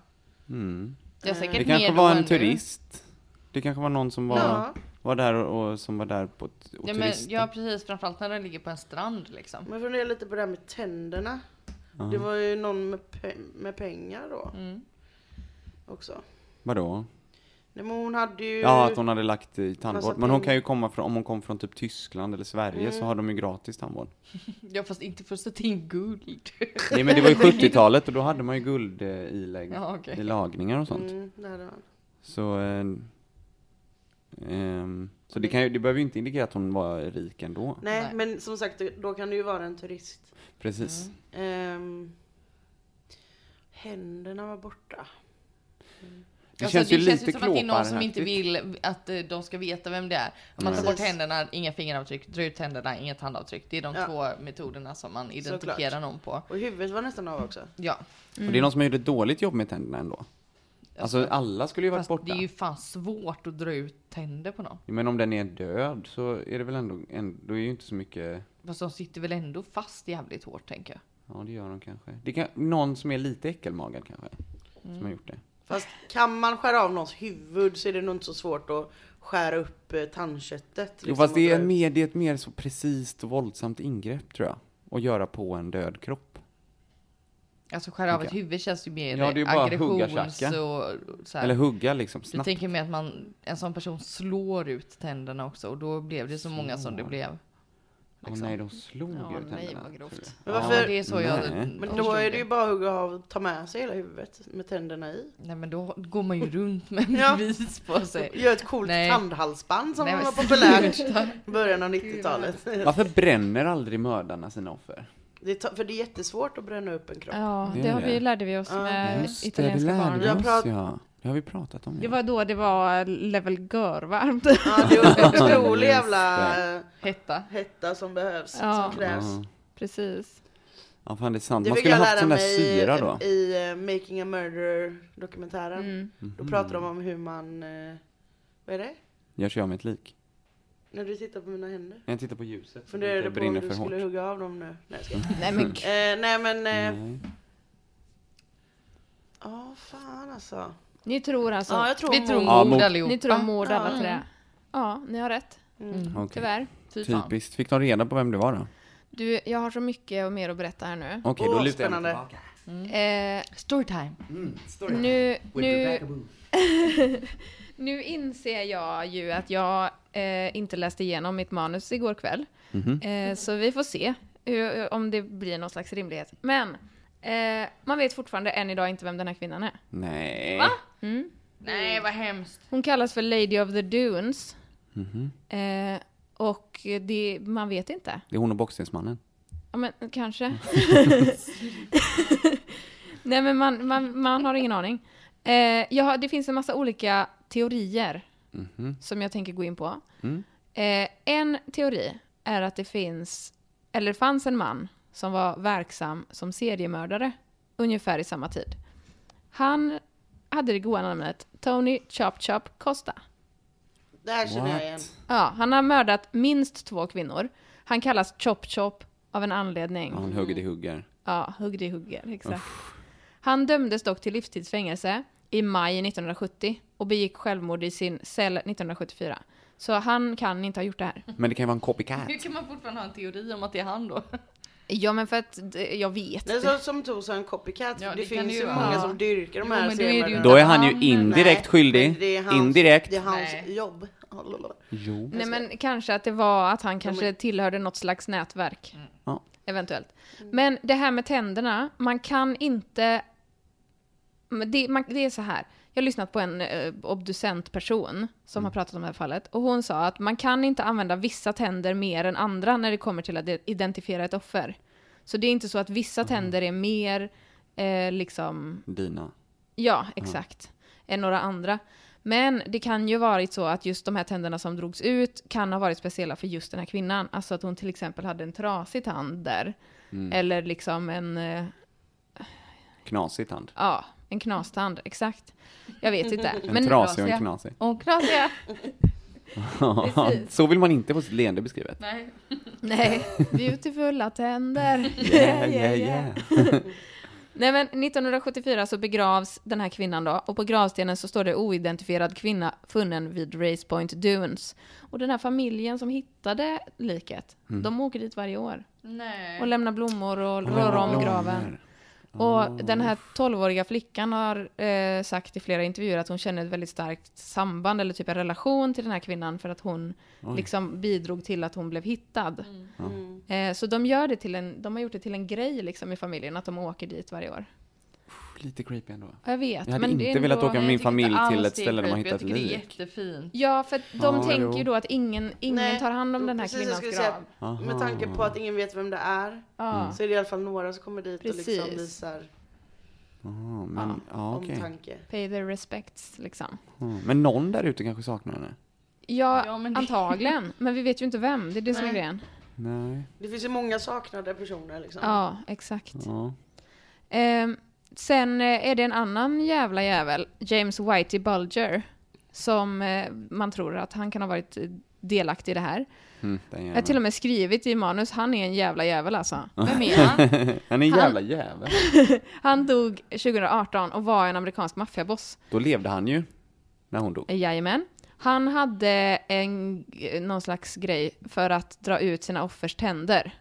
det är säkert Det mer kanske då var en än nu. turist. Det kanske var någon som var, Ja. var där och, och som var där på ett, och Ja, men, turist. ja precis, framförallt när den ligger på en strand liksom. Men jag funderar lite på det här med tänderna. Det var ju någon med, pe- med pengar då. Också. Vadå? Nej, men hon hade ju... Ja, att hon hade lagt i tandvård. Massa Men hon peng- kan ju komma från, om hon kom från typ Tyskland eller Sverige så har de ju gratis tandvård. Mm. [LAUGHS] Ja fast inte för att sätta in guld. [LAUGHS] Nej men det var ju 70-talet och då hade man ju guld eh, ilägg, Ja, okej. i lagningar och sånt. Mm, det hade hon. Så, eh, ehm, så det, kan ju, det behöver ju inte indikera att hon var rik ändå. Nej, Nej. men som sagt, då kan det ju vara en turist. Precis. Mm. Ehm, händerna var borta. Det Alltså, känns ju det känns lite ju som att det är någon som inte klåparaktigt. vill att eh, de ska veta vem det är. Om man tar bort Precis. händerna, inga fingeravtryck, drar ut händerna, inget handavtryck. Det är de Ja. två metoderna som man identifierar Såklart. någon på. Och huvudet var nästan av också. Ja, Och det Mm. är någon som har gjort ett dåligt jobb med tänderna ändå. Alltså alla skulle ju varit fast borta. det är ju fan svårt att dra ut tänder på någon. Men om den är död så är det väl ändå, ändå är ju inte så mycket, Fast de sitter väl ändå fast jävligt hårt tänker jag. ja det gör de kanske. Det kan, någon som är lite äckelmagad kanske, som har gjort det. Fast kan man skära av någons huvud så är det nog inte så svårt att skära upp eh, tandköttet. Jo liksom, fast det och är, dra ut. mer, det är ett mer så precist och våldsamt ingrepp tror jag. Att göra på en död kropp. Alltså skära av Tänker ett huvud känns ju mer Ja, det är ju bara hugga, tjacka. och så här. Eller hugga liksom jag snabbt. tänker mig att man, en sån person slår ut tänderna också och då blev det så många som det blev. Åh nej, de slog ju Ja, tänderna. nej vad grovt. Men Ja, varför? det är så jag Nej. Men då är det ju bara att hugga av och ta med sig hela huvudet med tänderna i. Nej men då går man ju runt med en [LAUGHS] Ja. vis på sig. Gör ett coolt Nej. tandhalsband som Nej, men var populärt sluta. i början av 90-talet. Varför bränner aldrig mördarna sina offer? Det tar, för det är jättesvårt att bränna upp en kropp. Ja, Det det är har vi, det. lärde vi oss med Just det, det italienska lärde vi barn. Jag oss prat- ja. Det har vi pratat om. Det Ja. var då det var level görvarmt. Ja, det är en otrolig Just jävla det. eh, Hetta. hetta som behövs, Ja. som krävs. Precis. ja fan det är sant. Det Man fick skulle jag ha haft lära sån där mig syra då. i, i eh, Making a Murderer dokumentären. Mm. Då pratar de om hur man, eh, vad är det? Gör sig av med ett lik. När du tittar på mina händer. Jag tittar på ljuset. Funderade Det på om brinner du för skulle hårt. hugga av dem nu? Nej, jag skojar. Nej men gud. eh, nej men, eh, Nej. ja fan alltså. Ni tror alltså? Ja jag tror Vi tror hon- Ja, mord mord. allihopa. Ni tror om mord alla tre? Ja, ni har rätt. Okej. Tyvärr. Fy fan. Typiskt. Fick de reda på vem det var då? Du, jag har så mycket och mer att berätta här nu. Okej, Åh, då lutar jag mig spännande. tillbaka. Eh, Storytime. nu, nu, Rebecca Booth. nu inser jag ju att jag eh, inte läste igenom mitt manus igår kväll. Mhm. Eh, så vi får se hur, om det blir någon slags rimlighet. Men eh, man vet fortfarande än idag inte vem den här kvinnan är. Nej. Nej vad hemskt. Hon kallas för Lady of the Dunes. Eh, och det, man vet inte. Det är hon och boxningsmannen. Ja, men kanske. Nej, men man, man, man har ingen aning. Eh, jag har, det finns en massa olika teorier som jag tänker gå in på. Eh, en teori är att det finns, eller fanns en man som var verksam som seriemördare ungefär i samma tid. Han hade det goa namnet Tony Chop Chop Costa. Det här känner jag igen. What? Ja, han har mördat minst två kvinnor. Han kallas Chop Chop av en anledning. Ja, Han hugger i hugger. Ja, hugg det hugger, exakt. Han dömdes dock till livstidsfängelse i maj 1970 och begick självmord i sin cell 1974. Så han kan inte ha gjort det här. Men det kan ju vara en copycat. Hur kan man fortfarande ha en teori om att det är han då? Ja men för att det- jag vet. Det är så, som Tor sa, en copycat. Ja, det, det kan finns det ju ju många vara. som dyrkar de Jo, här men då är det ju scenerna. Då är han ju Han- indirekt Nej, skyldig. men det är hans, Indirekt. Det är hans Nej. jobb. Hallå. Jo. Nej men kanske att det var att han kanske tillhörde något slags nätverk. Ja. Eventuellt. Men det här med tänderna, man kan inte... men Det, man, det är så här. Jag har lyssnat på en eh, obducent person som har pratat om det här fallet. Och hon sa att man kan inte använda vissa tänder mer än andra när det kommer till att identifiera ett offer. Så det är inte så att vissa tänder är mer eh, liksom... Dina. Ja, exakt. Än några andra. Men det kan ju varit så att just de här tänderna som drogs ut kan ha varit speciella för just den här kvinnan. Alltså att hon till exempel hade en trasig tand där. Mm. Eller liksom en, eh, Knasig tand. ja, en knastand. Exakt. Jag vet inte. En Men trasig och en knasig. Och knasiga. [LAUGHS] så vill man inte få sitt leende beskrivet. Nej. nej, beautifula [LAUGHS] tänder. Yeah, yeah, yeah. Nej men 1974 så begravs den här kvinnan då och på gravstenen så står det oidentifierad kvinna funnen vid Race Point Dunes. Och den här familjen som hittade liket, Mm. de åker dit varje år Nej. och lämnar blommor och rör om graven. Och den här 12-åriga flickan har eh, sagt i flera intervjuer att hon känner ett väldigt starkt samband eller typ en relation till den här kvinnan för att hon liksom bidrog till att hon blev hittad. Mm. Eh, så de, gör det till en, de har gjort det till en grej liksom i familjen att de åker dit varje år. Lite creepy ändå. Ja, Jag vet. Jag hade men det är inte velat ändå- åka med min familj till ett ställe där man hittat ett ett Jag tycker det är lik. jättefint. Ja, för att de Ja, tänker jo. ju då att ingen, ingen Nej, tar hand om då- den här precis, jag kvinnans skulle grav. säga, Med tanke på att ingen vet vem det är. Mm. Ja. Så är det i alla fall några som kommer dit och liksom Precis. visar Ja, men, ja, okej. omtanke. Pay their respects, liksom. Ja, men någon där ute kanske saknar henne? Ja, Ja, men det- antagligen. Men vi vet ju inte vem. Det är det som är Nej. grejen. Nej. Det finns ju många saknade personer liksom. Ja, exakt. Ja. Ehm, sen eh, är det en annan jävla jävel, James Whitey Bulger, som eh, man tror att han kan ha varit eh, delaktig i det här. Mm, den Jag har till och med skrivit i manus, han är en jävla jävel alltså. Vem är han? Han är en jävla jävel. Han dog 2018 och var en amerikansk maffiaboss. Då levde han ju när hon dog. Jajamän. Han hade en, eh, någon slags grej för att dra ut sina offers tänder.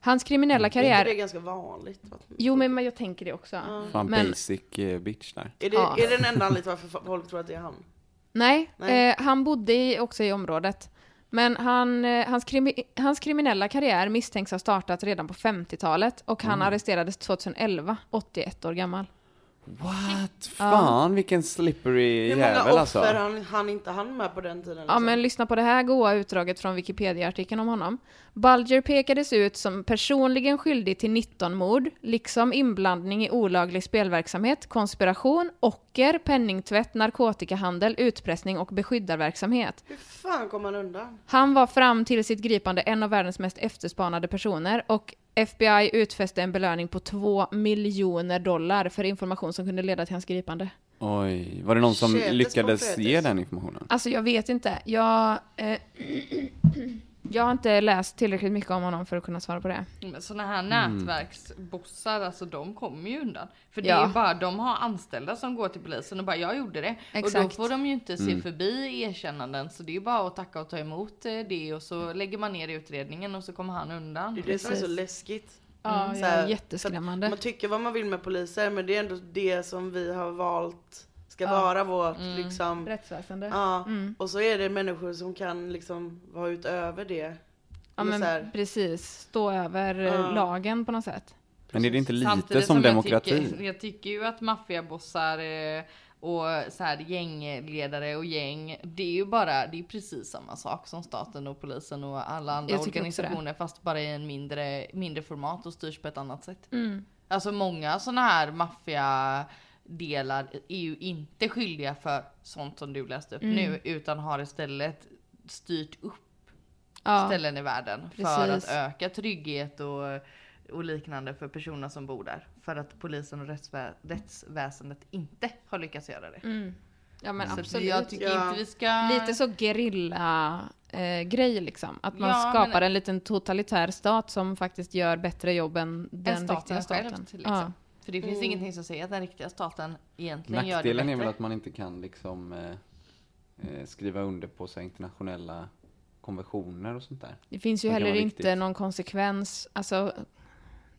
Hans kriminella Är inte det karriär... ganska vanligt? Jo, men men Mm. jag tänker det också. Fan Men- basic eh, bitch där. Är det, Ja. är det den enda anledningen till varför folk tror att det är han? Nej, Nej. Eh, han bodde i, också i området. Men han, eh, hans, krimi, hans kriminella karriär misstänks ha startat redan på 50-talet och han arresterades 2011, 81 år gammal. What? Fan vilken slippery Hur många jävel offer alltså. han, han inte hann med på den tiden? Ja, liksom? men lyssna på det här goa utdraget från Wikipedia-artikeln om honom. Bulger pekades ut som personligen skyldig till 19 mord, liksom inblandning i olaglig spelverksamhet, konspiration, ocker, penningtvätt, narkotikahandel, utpressning och beskyddarverksamhet. Hur fan kom han undan? Han var fram till sitt gripande en av världens mest efterspanade personer och FBI utfäste en belöning på 2 miljoner dollar för information som kunde leda till hans gripande. Oj, var det någon som Shit, lyckades that's ge den informationen? Alltså jag vet inte. Jag, eh, [CLEARS THROAT] jag har inte läst tillräckligt mycket om honom för att kunna svara på det. Men såna här nätverksbossar, alltså de kommer ju undan. För det Ja. är ju bara, de har anställda som går till polisen och bara jag gjorde det. Och då Exakt. får de ju inte se förbi erkännanden. Så det är ju bara att tacka och ta emot eh, det och så lägger man ner utredningen och så kommer han Det undan. är det som är så Precis. läskigt. Mm. Ja, Så ja, här, jätteskrämmande. så att Man tycker vad man vill med poliser men det är ändå det som vi har valt ska vara vårt Mm. liksom. Rättsväsende. Mm. Ja. Och så är det människor som kan liksom vara utöver det. Ja Men så här- men precis, stå över eh, lagen på något sätt. Men är det inte lite Samtidigt som, jag demokrati? Tycker, jag tycker ju att maffiabossar eh, och så här gängledare och gäng, det är ju bara, det är precis samma sak som staten och polisen och alla andra Jag tycker också organisationer fast bara i en mindre, mindre format och styrs på ett annat sätt. Mm. Alltså många sådana här maffia delar är ju inte skyldiga för sånt som du läste Mm. upp nu utan har istället styrt upp Ja, ställen i världen för Precis. att öka trygghet och, och liknande för personer som bor där. För att polisen och rättsvä- rättsväsendet inte har lyckats göra det. Mm. ja men Så absolut. jag tycker Ja. inte vi ska... Lite så gerilla eh, grej liksom. Att man Ja, skapar men- en liten totalitär stat som faktiskt gör bättre jobb än den en riktiga staten staten. själv till ja. exempel. För det finns ingenting som säger att den riktiga staten egentligen gör det Nackdelen bättre. är väl att man inte kan liksom eh, eh, skriva under på så här, internationella konventioner och sånt där. Det finns ju Det kan heller vara inte viktigt. någon konsekvens. Alltså,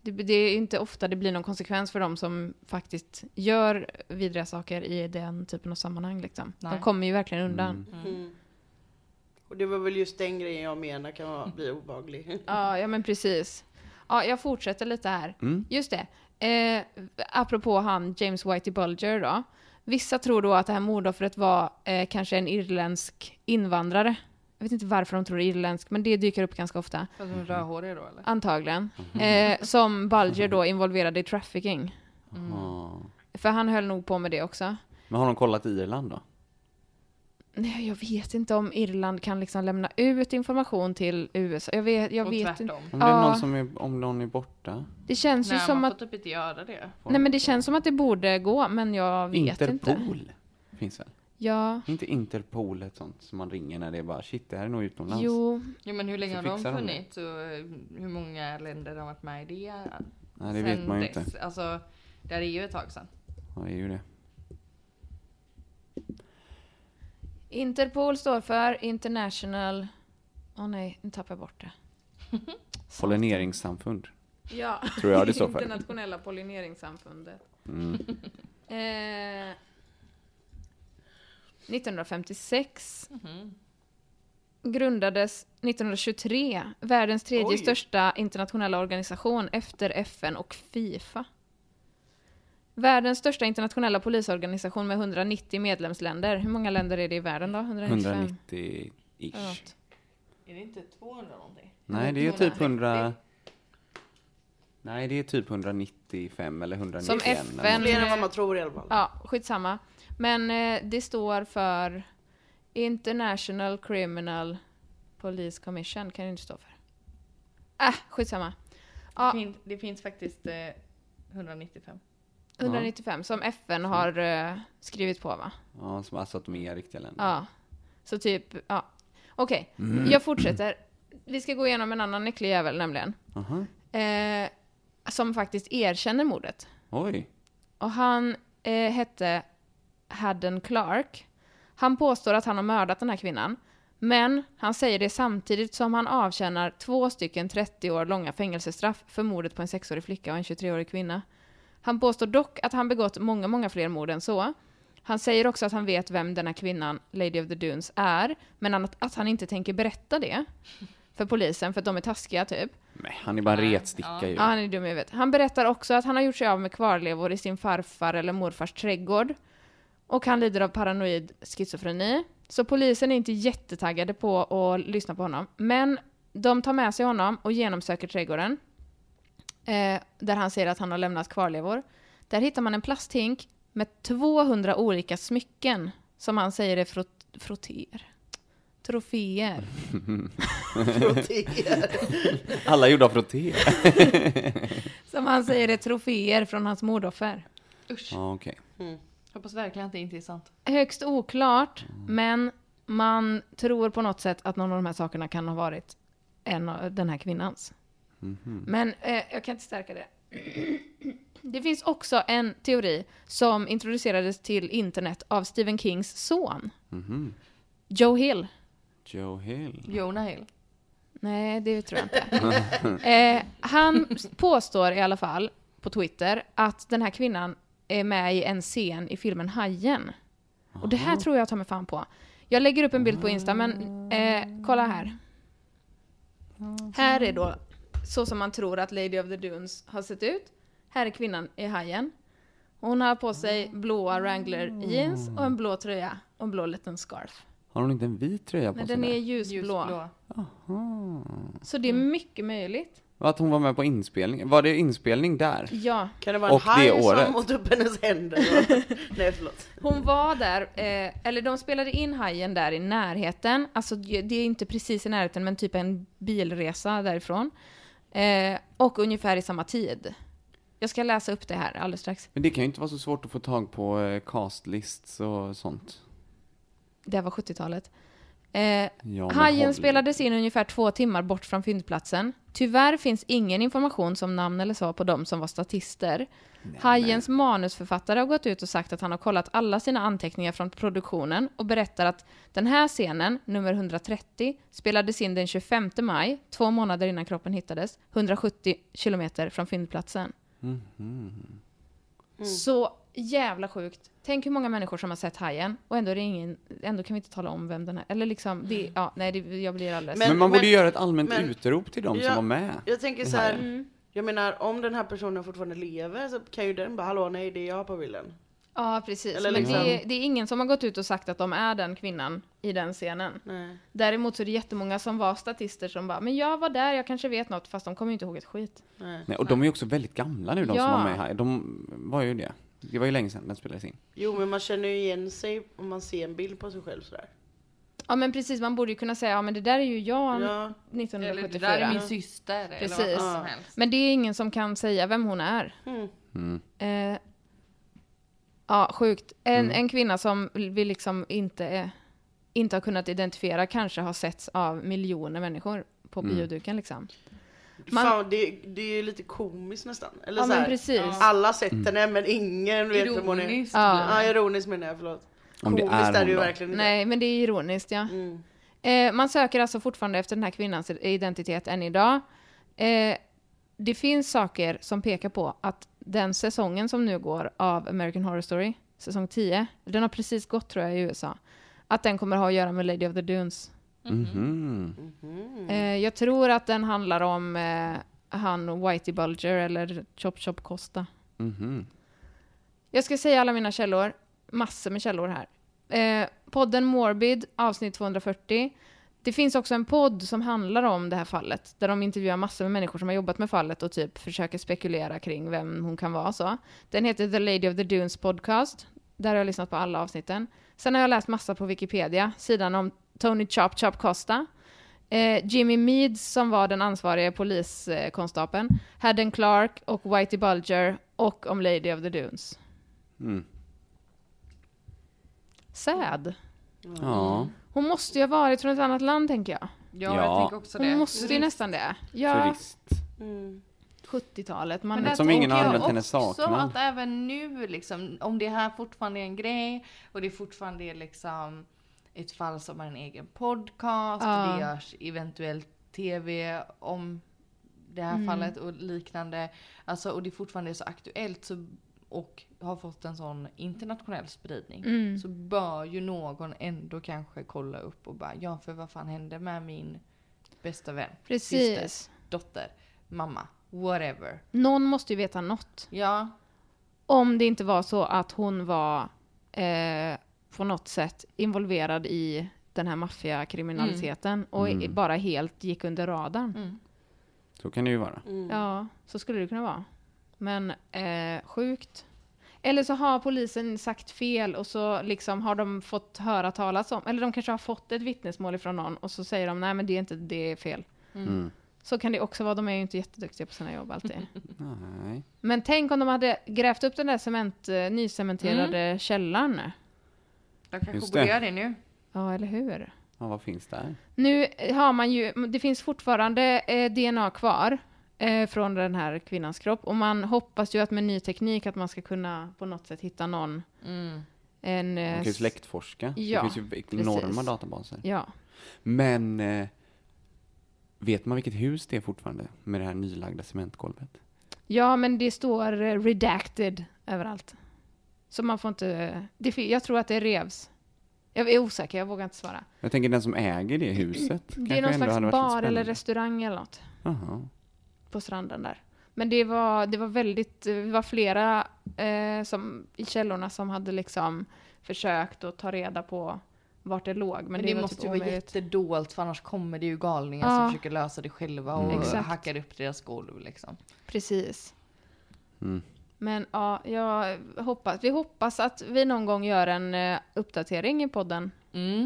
Det, det är ju inte ofta det blir någon konsekvens för de som faktiskt gör vidriga saker i den typen av sammanhang. Liksom. De Nej. kommer ju verkligen undan. Mm. Och det var väl just den grejen jag menar kan vara, bli obehaglig. [LAUGHS] Ja, ja men precis. Ja, jag fortsätter lite här. Mm. Just det. Eh, apropå han James Whitey Bulger då. Vissa tror då att det här mordoffret var eh, kanske en irländsk invandrare. Jag vet inte varför de tror irländsk, men det dyker upp ganska ofta. För att de är rödhåriga då eller? Antagligen. Eh, som Bulger då involverade i trafficking. Ah. För han höll nog på med det också. Men har de kollat Irland då? Nej, jag vet inte om Irland kan liksom lämna ut information till USA. Jag vet, jag och vet inte. tvärtom. Om det är Ja. någon som är, om någon är borta? Det känns ju Nej som man att... får typ inte göra det. Nej men det känns som att det borde gå, men jag vet inte. Interpol finns väl? Ja, Inte Interpol ett sånt som man ringer när det är bara shit, det här är nog utomlands. jo. Jo men hur länge Så har de fixar de det. funnits och eh, hur många länder har varit med i det? Nej, det vet sen man ju inte. dess? Alltså, det här är ju ett tag sedan. Ja, det är ju det. Interpol står för International... Åh nej, nu tappar jag bort det. Pollineringssamfund. Ja, Tror jag det står för. Internationella pollineringssamfundet. Mm. Eh, 1956 grundades 1923 världens tredje Oj. största internationella organisation efter FN och Fifa. Världens största internationella polisorganisation med 190 medlemsländer. Hur många länder är det i världen då? 195? 190-ish. Är det inte 200 någonting? Nej, det är typ 100... Nej, det är typ 195 eller 191. Som eller något. FN. Fler än vad man tror i alla fall. Ja, skitsamma. Men eh, det står för International Criminal Police Commission, kan det inte stå för. Äh, skitsamma. Det, Ja, finns, det finns faktiskt eh, 195. 195 som FN har Mm. eh, skrivit på va? Ja, som alltså att de är riktiga länder. Ja. Så typ, ja. Okej, Mm. jag fortsätter. Vi ska gå igenom en annan äcklig jävel nämligen. Aha. Eh, som faktiskt erkänner mordet. Oj. Och han eh, hette Haddon Clark. Han påstår att han har mördat den här kvinnan. Men han säger det samtidigt som han avtjänar två stycken 30 år långa fängelsestraff för mordet på en 6-årig flicka och en 23-årig kvinna. Han påstår dock att han begått många, många fler mord än så. Han säger också att han vet vem denna kvinnan, Lady of the Dunes, är, men att, att han inte tänker berätta det för polisen för att de är taskiga, typ. Nej, han är bara en retsticka ju. Ja, han är dum i huvudet. Han berättar också att han har gjort sig av med kvarlevor i sin farfar eller morfars trädgård. Och han lider av paranoid schizofreni. Så polisen är inte jättetaggade på att lyssna på honom. Men de tar med sig honom och genomsöker trädgården. Eh, där han säger att han har lämnat kvarlevor. Där hittar man en plasthink med 200 olika smycken. Som han säger är frot- frotter. Troféer. Proteer. Alla är gjorda av frotté. Som han säger är troféer från hans mordoffer. Usch. Ja, okej. Hoppas verkligen att det inte är sant. högst oklart, men man tror på något sätt att någon av de här sakerna kan ha varit en av den här kvinnans. Men eh, jag kan inte stärka det. [CLEARS THROAT] Det finns också en teori som introducerades till internet av Stephen Kings son. Joe Hill. Joe Hill. Jonah Hill. Nej, det tror jag inte. eh, han påstår i alla fall på Twitter att den här kvinnan är med i en scen i filmen Hajen. Och det här tror jag tar mig fan på. Jag lägger upp en bild på Insta, men eh, kolla här. Här är då så som man tror att Lady of the Dunes har sett ut. Här är kvinnan i Hajen. Hon har på sig blåa Wrangler jeans och en blå tröja och en blå liten scarf. Har hon inte en vit tröja på Men sig? den är där? ljusblå. Ljusblå. Så det är mycket möjligt. Att hon var med på inspelning. Var det inspelning där? Ja, Kan det vara en Och det haj året. som åt upp hennes händer? [LAUGHS] Nej förlåt. hon var där, eh, eller de spelade in Hajen där i närheten. Alltså det det är inte precis i närheten, men typ en bilresa därifrån. Eh, och ungefär i samma tid. Jag ska läsa upp det här alldeles strax. Men det kan ju inte vara så svårt att få tag på eh, castlists och sånt. Det här var 70-talet. Eh, Ja, men Hajen håll- spelades in ungefär två timmar bort från fyndplatsen. Tyvärr finns ingen information som namn eller så på de som var statister. Hajens manusförfattare har gått ut och sagt att han har kollat alla sina anteckningar från produktionen och berättar att den här scenen, nummer 130, spelades in den 25 maj, två månader innan kroppen hittades, 170 kilometer från fyndplatsen. Så jävla sjukt. Tänk hur många människor som har sett Hajen och ändå, är det ingen, ändå kan vi inte tala om vem den är. Eller liksom, det, ja, nej, det, jag blir alldeles... Men, Men- man borde men- göra ett allmänt men- utrop till de som var med. Jag tänker så här. Jag menar om den här personen fortfarande lever så kan ju den bara hallå nej det är jag på bilden. Ja, precis. Eller Men liksom- det, det är ingen som har gått ut och sagt att de är den kvinnan i den scenen. Nej. Däremot så är det jättemånga som var statister som bara “men jag var där, jag kanske vet något” fast de kommer ju inte ihåg ett skit. Nej, och de är ju också väldigt gamla nu, de som Ja. var med här. De var ju det. Det var ju länge sedan den spelades in. Jo men man känner ju igen sig om man ser en bild på sig själv sådär. Ja men precis, man borde ju kunna säga “ja men det där är ju jag Ja. Eller 1974”. det där är min syster. Eller Precis. vad som helst. Men det är ingen som kan säga vem hon är. Mm. Eh, ja, sjukt. En, en kvinna som vi liksom inte, är- inte har kunnat identifiera kanske har setts av miljoner människor på bioduken liksom. Man- Fan, det, det är ju lite komiskt nästan. Eller Ja, så men här, precis. Ja. Alla har sett henne men ingen vet vem hon är. Ironiskt Ja. ja ironiskt menar jag förlåt. Om det är komiskt är hon det ju då. verkligen inte. Nej, men det är ironiskt ja. Eh, man söker alltså fortfarande efter den här kvinnans identitet än idag. Eh, det finns saker som pekar på att den säsongen som nu går av American Horror Story, säsong 10, den har precis gått tror jag i USA, att den kommer ha att göra med Lady of the Dunes. Eh, jag tror att den handlar om eh, han Whitey Bulger eller Chop Chop Costa. Jag ska säga alla mina källor. Massor med källor här. Eh, podden Morbid, avsnitt 240. Det finns också en podd som handlar om det här fallet, där de intervjuar massor med människor som har jobbat med fallet och typ försöker spekulera kring vem hon kan vara och så. Den heter The Lady of the Dunes Podcast. Där har jag lyssnat på alla avsnitten. Sen har jag läst massa på Wikipedia, sidan om Tony Chop Chop Costa. Eh, Jimmy Meads som var den ansvarige poliskonstapeln, Haddon Clark och Whitey Bulger och om Lady of the Dunes. Sad. Mm. Ja. Hon måste ju ha varit från ett annat land tänker jag. Ja. Ja, jag tänker också det. Hon måste ju nästan det. Ja, Turist. 70-talet. Man där är... Som liksom ingen tänker har jag använt hennes också saknad. att även nu, liksom, om det här fortfarande är en grej och det fortfarande är liksom ett fall som har en egen podcast och det görs eventuellt tv om det Mm. här fallet och liknande. Alltså, och det fortfarande är så aktuellt så, och har fått en sån internationell spridning. Mm. Så bör ju någon ändå kanske kolla upp och bara ja för vad fan hände med min bästa vän, Precis. syster, dotter, mamma, whatever. Någon måste ju veta något. Ja, Om det inte var så att hon var eh, på något sätt involverad i den här maffiakriminaliteten Mm. och i- bara helt gick under radarn. Så kan det ju vara. Ja, så skulle det kunna vara. Men eh, sjukt. Eller så har polisen sagt fel och så liksom har de fått höra talas om, eller de kanske har fått ett vittnesmål ifrån någon och så säger de nej men det är inte, det är fel. Så kan det också vara, de är ju inte jätteduktiga på sina jobb alltid. [LAUGHS] Nej. men tänk om de hade grävt upp den där cement, eh, nycementerade källaren. de kanske Just borde det. göra det nu. Ja, eller hur? Ja, vad finns där? Nu har man ju, det finns fortfarande eh, DNA kvar eh, från den här kvinnans kropp och man hoppas ju att med ny teknik att man ska kunna på något sätt hitta någon. En, eh, Man kan ju släktforska. Ja, det finns ju enorma precis. databaser. Ja. Men eh, vet man vilket hus det är fortfarande med det här nylagda cementgolvet? ja, men det står eh, redacted överallt. Så man får inte, det, fi- jag tror att det revs. Jag är osäker, jag vågar inte svara. Jag tänker den som äger det huset. Det kanske är någon ändå slags hade varit lite bar eller spännande. restaurang eller något. Jaha. på stranden där. Men det var, det var väldigt, det var flera eh, som, i källorna som hade liksom försökt att ta reda på vart det låg. Men, Men, det, det, var måste typ ju vara omöjligt. jättedolt för annars kommer det ju galningar Ja. som försöker lösa det själva och Exakt. hackar upp deras golv liksom. Precis. Men ja, jag hoppas, vi hoppas att vi någon gång gör en eh, uppdatering i podden.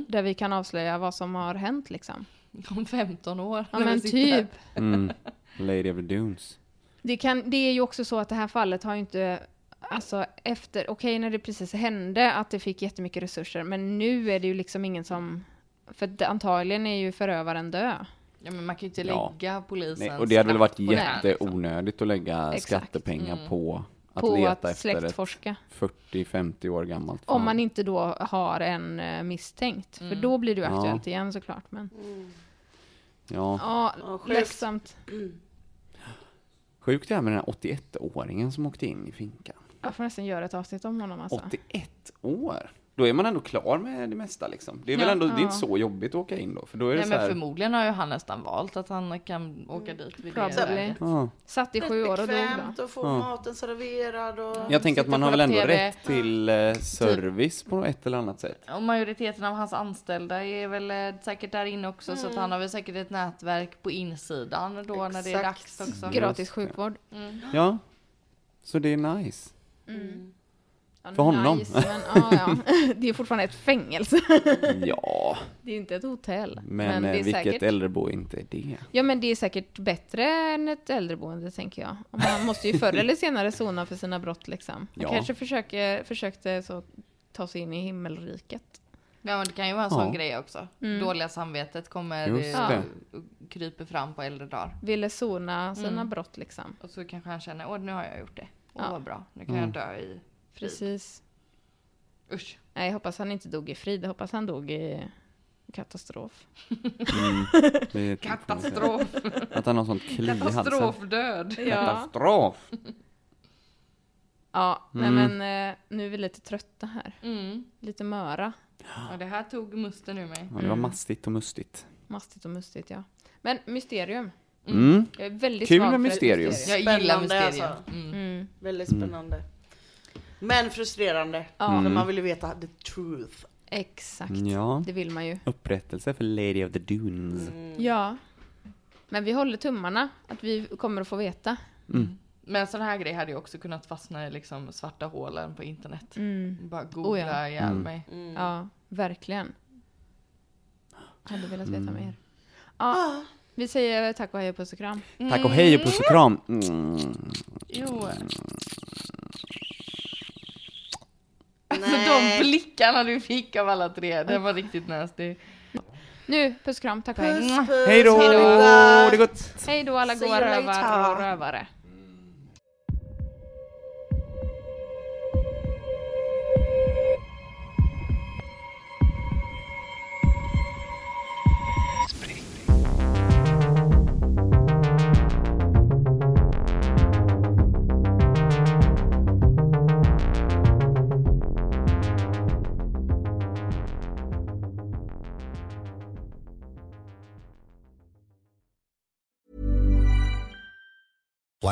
Där vi kan avslöja vad som har hänt liksom. Om 15 år. Ja när vi men sitter här. typ. Lady of the Dunes. Det, kan, det är ju också så att det här fallet har ju inte... Alltså efter, okej när det precis hände att det fick jättemycket resurser, men nu är det ju liksom ingen som... För det, antagligen är ju förövaren död. Ja men man kan ju inte Ja. lägga polisen Nej, och det hade väl varit snabbt på det här, liksom. jätteonödigt att lägga Exakt. Mm. skattepengar på att på leta att efter ett släktforska. 40-50 år gammalt Om fall. man inte då har en eh, misstänkt. För då blir det ju Ja. aktuellt igen såklart. Men Ja. ja, sjukt. ledsamt. Sjukt det här med den här 81-åringen som åkte in i finkan. Jag får nästan göra ett avsnitt om honom alltså. 81 år! Då är man ändå klar med det mesta liksom. Det är väl Ja, ändå, det är ja. inte så jobbigt att åka in då, för då är det Nej så men här... förmodligen har ju han nästan valt att han kan åka dit vid det Probably. läget. ja. Satt i sju år och dog då. Bekvämt och få maten serverad och... Jag tänker att man Sitta har väl på ändå TV. rätt till eh, service på ett eller annat sätt. Och majoriteten av hans anställda är väl eh, säkert där inne också så att han har väl säkert ett nätverk på insidan då när det är Exakt. dags också. Gratis sjukvård. Ja. Så det är nice. För honom. Nice, men, ja, [LAUGHS] ja. Det är fortfarande ett fängelse. [LAUGHS] Ja, Det är inte ett hotell. men, det eh, är vilket säkert, äldreboende inte är det? Ja men det är säkert bättre än ett äldreboende tänker jag. Och Man måste ju förr eller senare sona för sina brott liksom. Han Ja. kanske försöker, försökte så, ta sig in i himmelriket. Ja men det kan ju vara en sån Ja. grej också. Dåliga samvetet kommer Just eh, det. kryper fram på äldre dagar. Ville sona sina brott liksom. Och så kanske han känner åh nu har jag gjort det. Åh Ja. vad bra, nu Mm. kan jag dö i frid. Precis. Usch. Nej, jag hoppas han inte dog i frid. Jag hoppas han dog i katastrof. det är typ Katastrof. Att han har sånt kli i halsen. Katastrofdöd. [LAUGHS] Ja, Katastrof! ja nej Mm. men eh, nu är vi lite trötta här. Mm. Lite möra. Och det här tog musten ur mig. Ja, det var mastigt och mustigt. Mastigt och mustigt ja. Men mysterium. Mm. Jag är väldigt Kul svag med för mysterium. Jag Spännande, gillar mysterium. alltså. Mm. Mm. Väldigt spännande. Men frustrerande. För Mm. man vill ju veta the truth. Exakt. Ja. Det vill man ju. Upprättelse för Lady of the Dunes. Ja. Men vi håller tummarna att vi kommer att få veta. Men sån här grej hade jag också kunnat fastna i liksom svarta hålen på internet. Bara googla Oh ja. ihjäl Mm. mig. Ja, verkligen. Hade velat veta mer. Ja, vi säger tack och hej och puss och kram. Tack och hej och puss och kram! Mm. Jo. Alltså de blickarna du fick av alla tre, det var riktigt nasty. Nu, puss och kram, tack och hej. Hej då! Det är gott! Hej då alla See goa you rövar och later. rövare.